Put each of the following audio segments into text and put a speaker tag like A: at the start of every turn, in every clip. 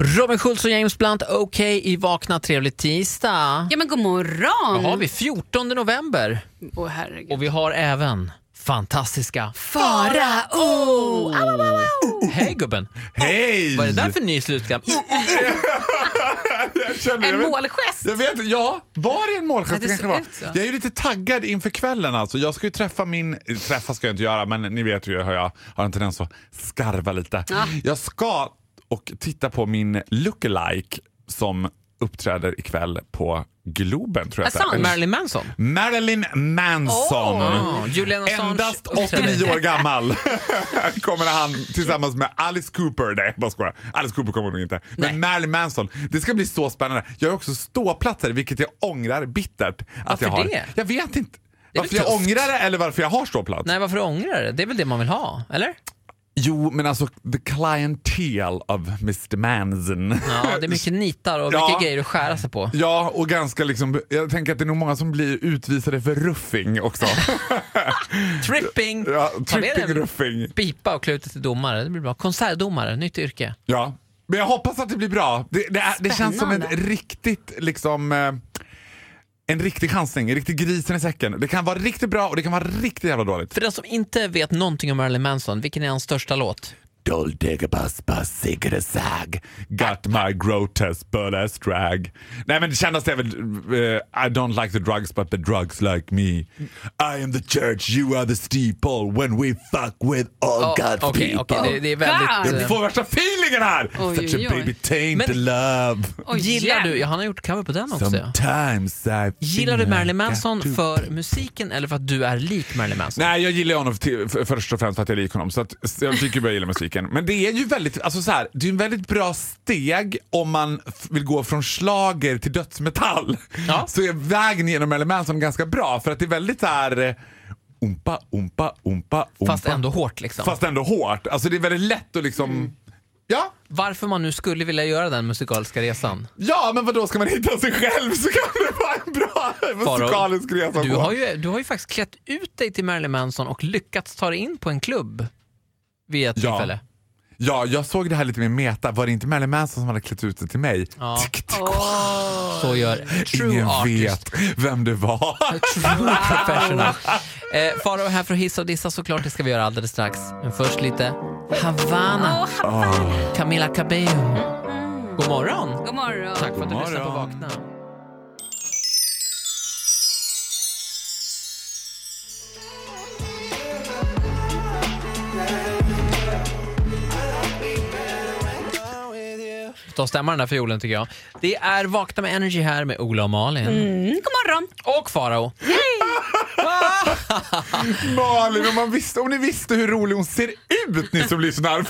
A: Robin Schultz och James Blunt, okej i Vakna trevlig tisdag.
B: Ja men god morgon!
A: Vad har vi? 14 november.
B: Åh herregud.
A: Och vi har även fantastiska...
B: Fara! Oh.
A: Hej gubben!
C: Hej!
A: Vad är det där för ny slutkläm?
C: Jag känner-
B: En
C: jag vet-
B: målgest!
C: Jag vet, ja, var det en målgest?
B: Ja, det
C: kanske
B: ser
C: var.
B: ut så.
C: Jag är ju lite taggad inför kvällen. Alltså. Jag ska ju träffa min... Träffa ska jag inte göra, men ni vet ju hur jag har en tendens att skarva lite. Jag ska och titta på min lookalike som uppträder ikväll på Globen, tror jag. att det är.
B: Assange?
A: Marilyn Manson?
C: Marilyn Manson.
A: Åh, Julian Assange
C: Endast
A: uppträder.
C: 89 år gammal kommer han tillsammans med Alice Cooper. Nej, bara skojar. Alice Cooper kommer nog inte. Men
A: Nej.
C: Marilyn Manson. Det ska bli så spännande. Jag har också ståplatser, vilket jag ångrar bittert. Att
A: Varför
C: jag har.
A: det?
C: Jag vet inte.
A: Det är
C: Varför
A: väl
C: jag
A: tufft.
C: ångrar det eller varför jag har ståplats?
A: Nej, varför ångrar du det? Det är väl det man vill ha, eller?
C: Jo, men alltså the clientele of Mr Manson.
A: Ja, det är mycket nitar och
C: Ja.
A: mycket grejer att skära sig på.
C: Ja, och ganska liksom, jag tänker att det är nog många som blir utvisade för ruffing också.
A: Tripping!
C: ja,
A: Ta med
C: tripping
A: den.
C: ruffing.
A: Pipa och klutet till domare, det blir bra. Konsertdomare, nytt yrke.
C: Ja, men jag hoppas att det blir bra. Det, det, är, det känns som en
B: Spännande.
C: riktigt liksom... eh, En riktig chansning, en riktig grisen i säcken. Det kan vara riktigt bra och det kan vara riktigt jävla dåligt.
A: För den som inte vet någonting om Marilyn Manson, vilken är hans största låt?
C: Doldegebasbasigresag Got my grotesque but as drag Nej men det kändaste är väl eh, I don't like the drugs but the drugs like me I am the church, you are the steeple When we fuck with all
A: Ja,
C: God's
A: Okej,
C: people
A: okej, det, det är väldigt... eh,
B: God!
C: Jag får värsta feelingen här!
B: Oj,
C: Such
B: oj,
C: a
B: oj.
C: baby taint
A: Men-
C: love
B: Oj,
A: Gillar du, ja, han har gjort cover på den också. ja.
C: Sometimes I
A: Gillar du
C: feel
A: Marilyn
C: like I
A: Manson
C: do.
A: för musiken eller för att du är lik Marilyn Manson?
C: Nej, jag gillar honom till, för, först och främst för att jag är lik honom. Så att, så jag tycker jag gillar musiken. Men det är ju väldigt, alltså så här, det är en väldigt bra steg om man f- vill gå från slager till dödsmetall.
A: Ja.
C: Så är vägen genom Marilyn Manson ganska bra för att det är väldigt så här eh, umpa, umpa, umpa, umpa.
A: Fast ändå Mm. hårt liksom.
C: Fast ändå hårt. Alltså det är väldigt lätt att liksom Ja,
A: Varför man nu skulle vilja göra den musikaliska resan.
C: ja, men vad då ska man hitta sig själv så kan det vara en bra
A: Faro,
C: musikalisk resa.
A: Du
C: på.
A: har, ju, du har ju faktiskt klätt ut dig till Marilyn Manson och lyckats ta dig in på en klubb vid ett
C: Ja.
A: tillfälle.
C: Ja, jag såg det här lite mer meta. Var det inte Marilyn Manson som hade klätt ut det till mig?
A: Ja.
C: Tick, tick.
A: Så gör true
C: Ingen
A: artist.
C: vet vem det var.
A: True professional. Eh, Faro är här för att hissa och dissa såklart, det ska vi göra alldeles strax. Men först lite Havana,
B: Åh, Havana.
A: Camila Cabello. God morgon!
B: God morgon.
A: Tack för att du
C: God
A: lyssnade på
C: morgon.
A: Vakna. Ta och stämma den där fiolen tycker jag. Det är Vakna med Energy här med Ola och Malin.
B: Mm, god morgon.
A: Och Farao.
C: Malin, om, man visste, om ni visste hur rolig hon ser ut ni som lyssnar.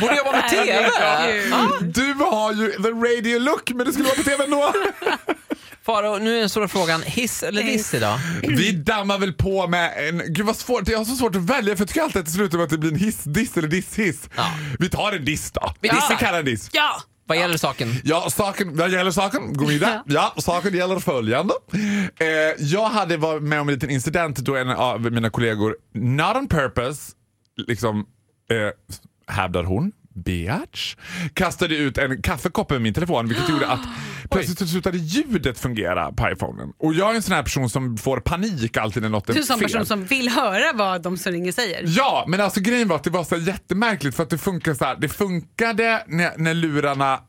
A: Borde jobba med TV.
B: Herregud.
C: Du har ju the radio look men det skulle vara på TV ändå.
A: Farao, nu är den stora frågan hiss eller diss idag?
C: Vi dammar väl på med en... Gud vad svårt, jag har så svårt att välja för jag tycker alltid att det slutar med att det blir en hiss-diss eller diss-hiss.
A: Ja.
C: Vi tar en diss då.
A: Vi dissar.
C: Vi kallar en diss.
B: Ja.
A: Vad gäller saken?
C: Ja, saken, vad gäller saken, god middag. Ja, saken gäller följande. Eh, jag hade varit med om en liten incident då en av mina kollegor, not on purpose, liksom, eh, hävdar hon, bitch, kastade ut en kaffekopp över min telefon vilket gjorde att plötsligt så slutade ljudet fungera på iPhonen. Och jag är en sån här person som får panik alltid när något är
B: Du är en sån
C: fel.
B: person som vill höra vad de som ringer säger.
C: Ja, men alltså grejen var att det var så här jättemärkligt för att det funkade så här. Det funkade när, när lurarna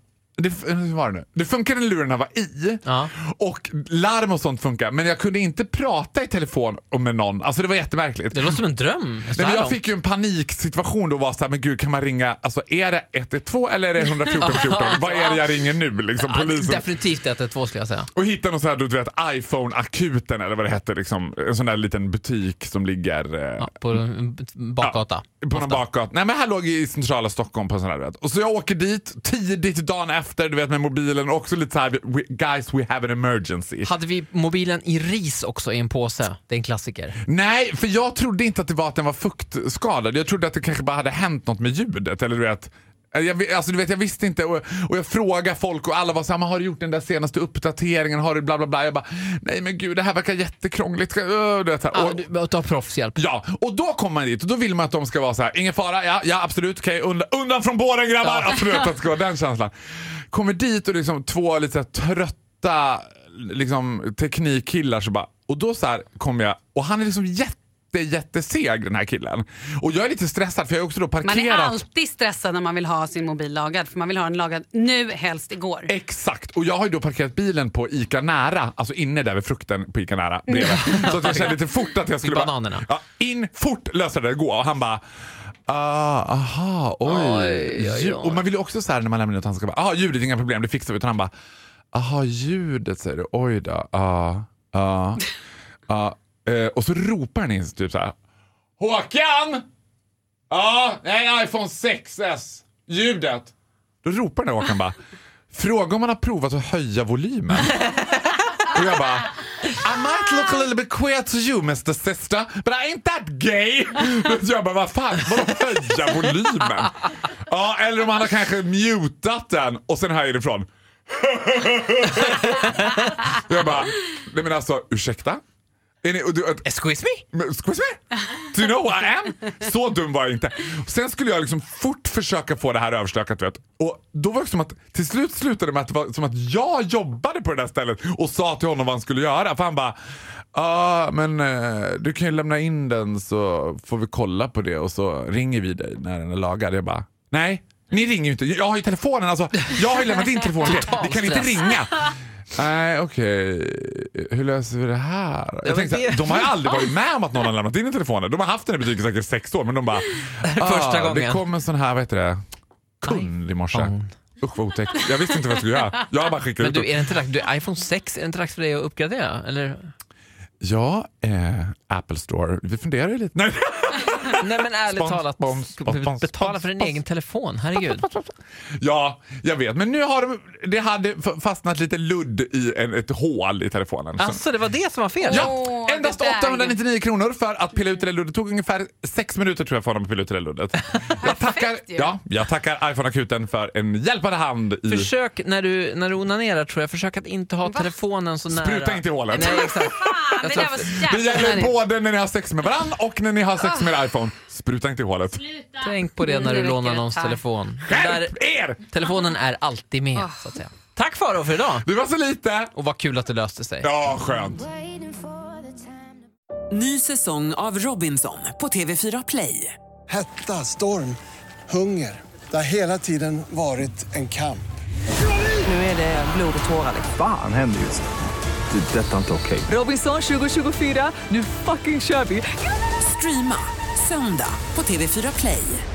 C: det, f- hur var det, nu? det funkade när lurarna var i
A: Ja.
C: och larm och sånt funkade men jag kunde inte prata i telefon med någon. Alltså det var jättemärkligt.
A: Det låter som en dröm. Så
C: Nej, men
A: här
C: jag
A: långt.
C: fick ju en paniksituation då och var så här, men gud kan man ringa, alltså är det 112 eller är det 114 14? Vad är det jag ringer nu liksom?
A: Ja,
C: Polisen.
A: definitivt 112 skulle jag säga.
C: Och hittade någon sån här, du vet, iPhone-akuten eller vad det hette liksom. En sån där liten butik som ligger eh,
A: Ja, på en b- bakgata.
C: På någon bakgata. Nej men här låg i centrala Stockholm på en sån här du vet. Och så jag åker dit tidigt dagen efter, du vet med mobilen. Också lite så här, "We- guys we have an emergency.
A: Hade vi mobilen i ris också i en påse? Det är en klassiker.
C: Nej, för jag trodde inte att det var att den var fuktskadad. Jag trodde att det kanske bara hade hänt något med ljudet. Eller du vet, jag, vi- alltså, du vet, jag visste inte och, och jag frågade folk och alla var så här, "Men har du gjort den där senaste uppdateringen? Har du bla bla bla? Jag bara, nej men gud det här verkar jättekrångligt. Ska- öh", Du vet, så här.
A: Ah,
C: och,
A: du, ta proffshjälp.
C: Ja, och då kommer man dit och då vill man att de ska vara så här, ingen fara, ja, ja absolut, okay, undan, undan från båren grabbar!
A: Ja.
C: Absolut att det ska vara den känslan. Kommer dit och liksom två lite så här trötta liksom, teknikkillar så bara, och då så här kommer jag, och han är liksom jätte jätteseg den här killen. Och jag är lite stressad för jag har också då parkerat.
B: Man är alltid stressad när man vill ha sin mobil lagad. För man vill ha den lagad nu, helst igår.
C: Exakt, och jag har ju då parkerat bilen på ICA Nära, alltså inne där vid frukten på ICA Nära. bredvid. Så att jag kände lite fort att jag skulle
A: Mm. bananerna.
C: Ja, in fort lösa det, gå. Och han bara Ah, aha, oj.
A: Oj, oj, oj.
C: Och man vill ju också så här när man lämnar ut, han ska bara, aha "Ah, ljudet, inga problem, det fixar vi. Utan han bara, aha ljudet säger du, oj då, ja, ja, ja. Eh, Och så ropar han in typ så här, Håkan! Ja, nej, iPhone 6S, ljudet. Då ropar den där Håkan bara, fråga om man har provat att höja volymen. Och jag bara, I might look a little bit queer to you Mr Sister, but I ain't that gay. Men jag bara, vad fan, vadå höja volymen? Ja, eller om han har kanske mutat den och sen höjer ifrån. jag bara, nej men alltså ursäkta? Är ni, och du,
A: Excuse me?
C: men, Excuse me? Do you know who I am? Så dum var jag inte. Sen skulle jag liksom fort försöka få det här överstökat. Vet. Och då var det som att, till slut slutade det med att det var som att jag jobbade på det där stället och sa till honom vad han skulle göra. För han bara, ja men eh, du kan ju lämna in den så får vi kolla på det och så ringer vi dig när den är lagad. Jag bara, nej. Ni ringer ju inte. Jag har ju telefonen. Alltså, jag har ju lämnat in telefonen till er. Ni kan inte
A: Totalstress.
C: ringa. Nej, okej. Hur löser vi det här? Jag
A: men
C: tänkte, så här,
A: det-
C: de har ju aldrig varit med om att någon har lämnat in en telefon. De har haft den i butiken säkert sex år, men de bara... "Ah,
A: Första
C: Det
A: gången."
C: kom en sån här, vad heter det, kund i morse. Usch vad otäckt. Jag visste inte vad jag skulle göra. Jag bara skickade
A: Men du,
C: ut dem.
A: är det inte dags, du, iPhone 6, är det inte dags för dig att uppgradera? Eller?
C: Ja, eh, Apple Store. Vi funderar ju lite. Nej.
A: Nej men ärligt
C: Spons,
A: talat,
C: spons,
A: ska-
C: spons, spons,
A: betala för din
C: spons.
A: egen telefon, herregud.
C: Ja, jag vet. Men nu har de, det hade f- fastnat lite ludd i en, ett hål i telefonen. Så-
A: Alltså det var det som var fel?
C: Ja,
B: Åh,
C: endast
B: det där.
C: 899 kronor för att pilla ut det där luddet. Det tog ungefär sex minuter tror jag för honom att pilla ut det där luddet. Jag tackar,
B: ju.
C: ja, jag tackar iPhone-akuten för en hjälpande hand. I,
A: Försök när du, när du onanerar tror jag, försök att inte ha telefonen så nära.
C: Spruta inte i hålet.
A: Nej exakt.
B: Fan,
A: Jag
B: det
A: tror
B: där var
A: att-
B: så
C: det
B: jävla
C: gäller
B: onödigt.
C: både när ni har sex med varandra och när ni har sex
B: Ah.
C: med er iPhone. Spruta inte i hålet.
A: Tänk på det
B: Nu
A: när du
B: räcker
A: lånar
B: det,
A: någons
B: tack.
A: telefon. Den Där,
C: Skärp er!
A: telefonen är alltid med så att säga. Tack Faro för idag!
C: Det var så lite.
A: Och vad kul att det löste sig.
C: Ja, skönt.
D: waiting for the time to
E: Ny säsong av Robinson på TV4 Play.
F: Hetta, storm, hunger. Det har hela tiden varit en kamp.
E: Nu är det blod och tårar. liksom.
G: Fan händer just det. Det är detta inte okej.
E: Robinson 2024, nu fucking kör vi! Streama söndag på TV4 Play.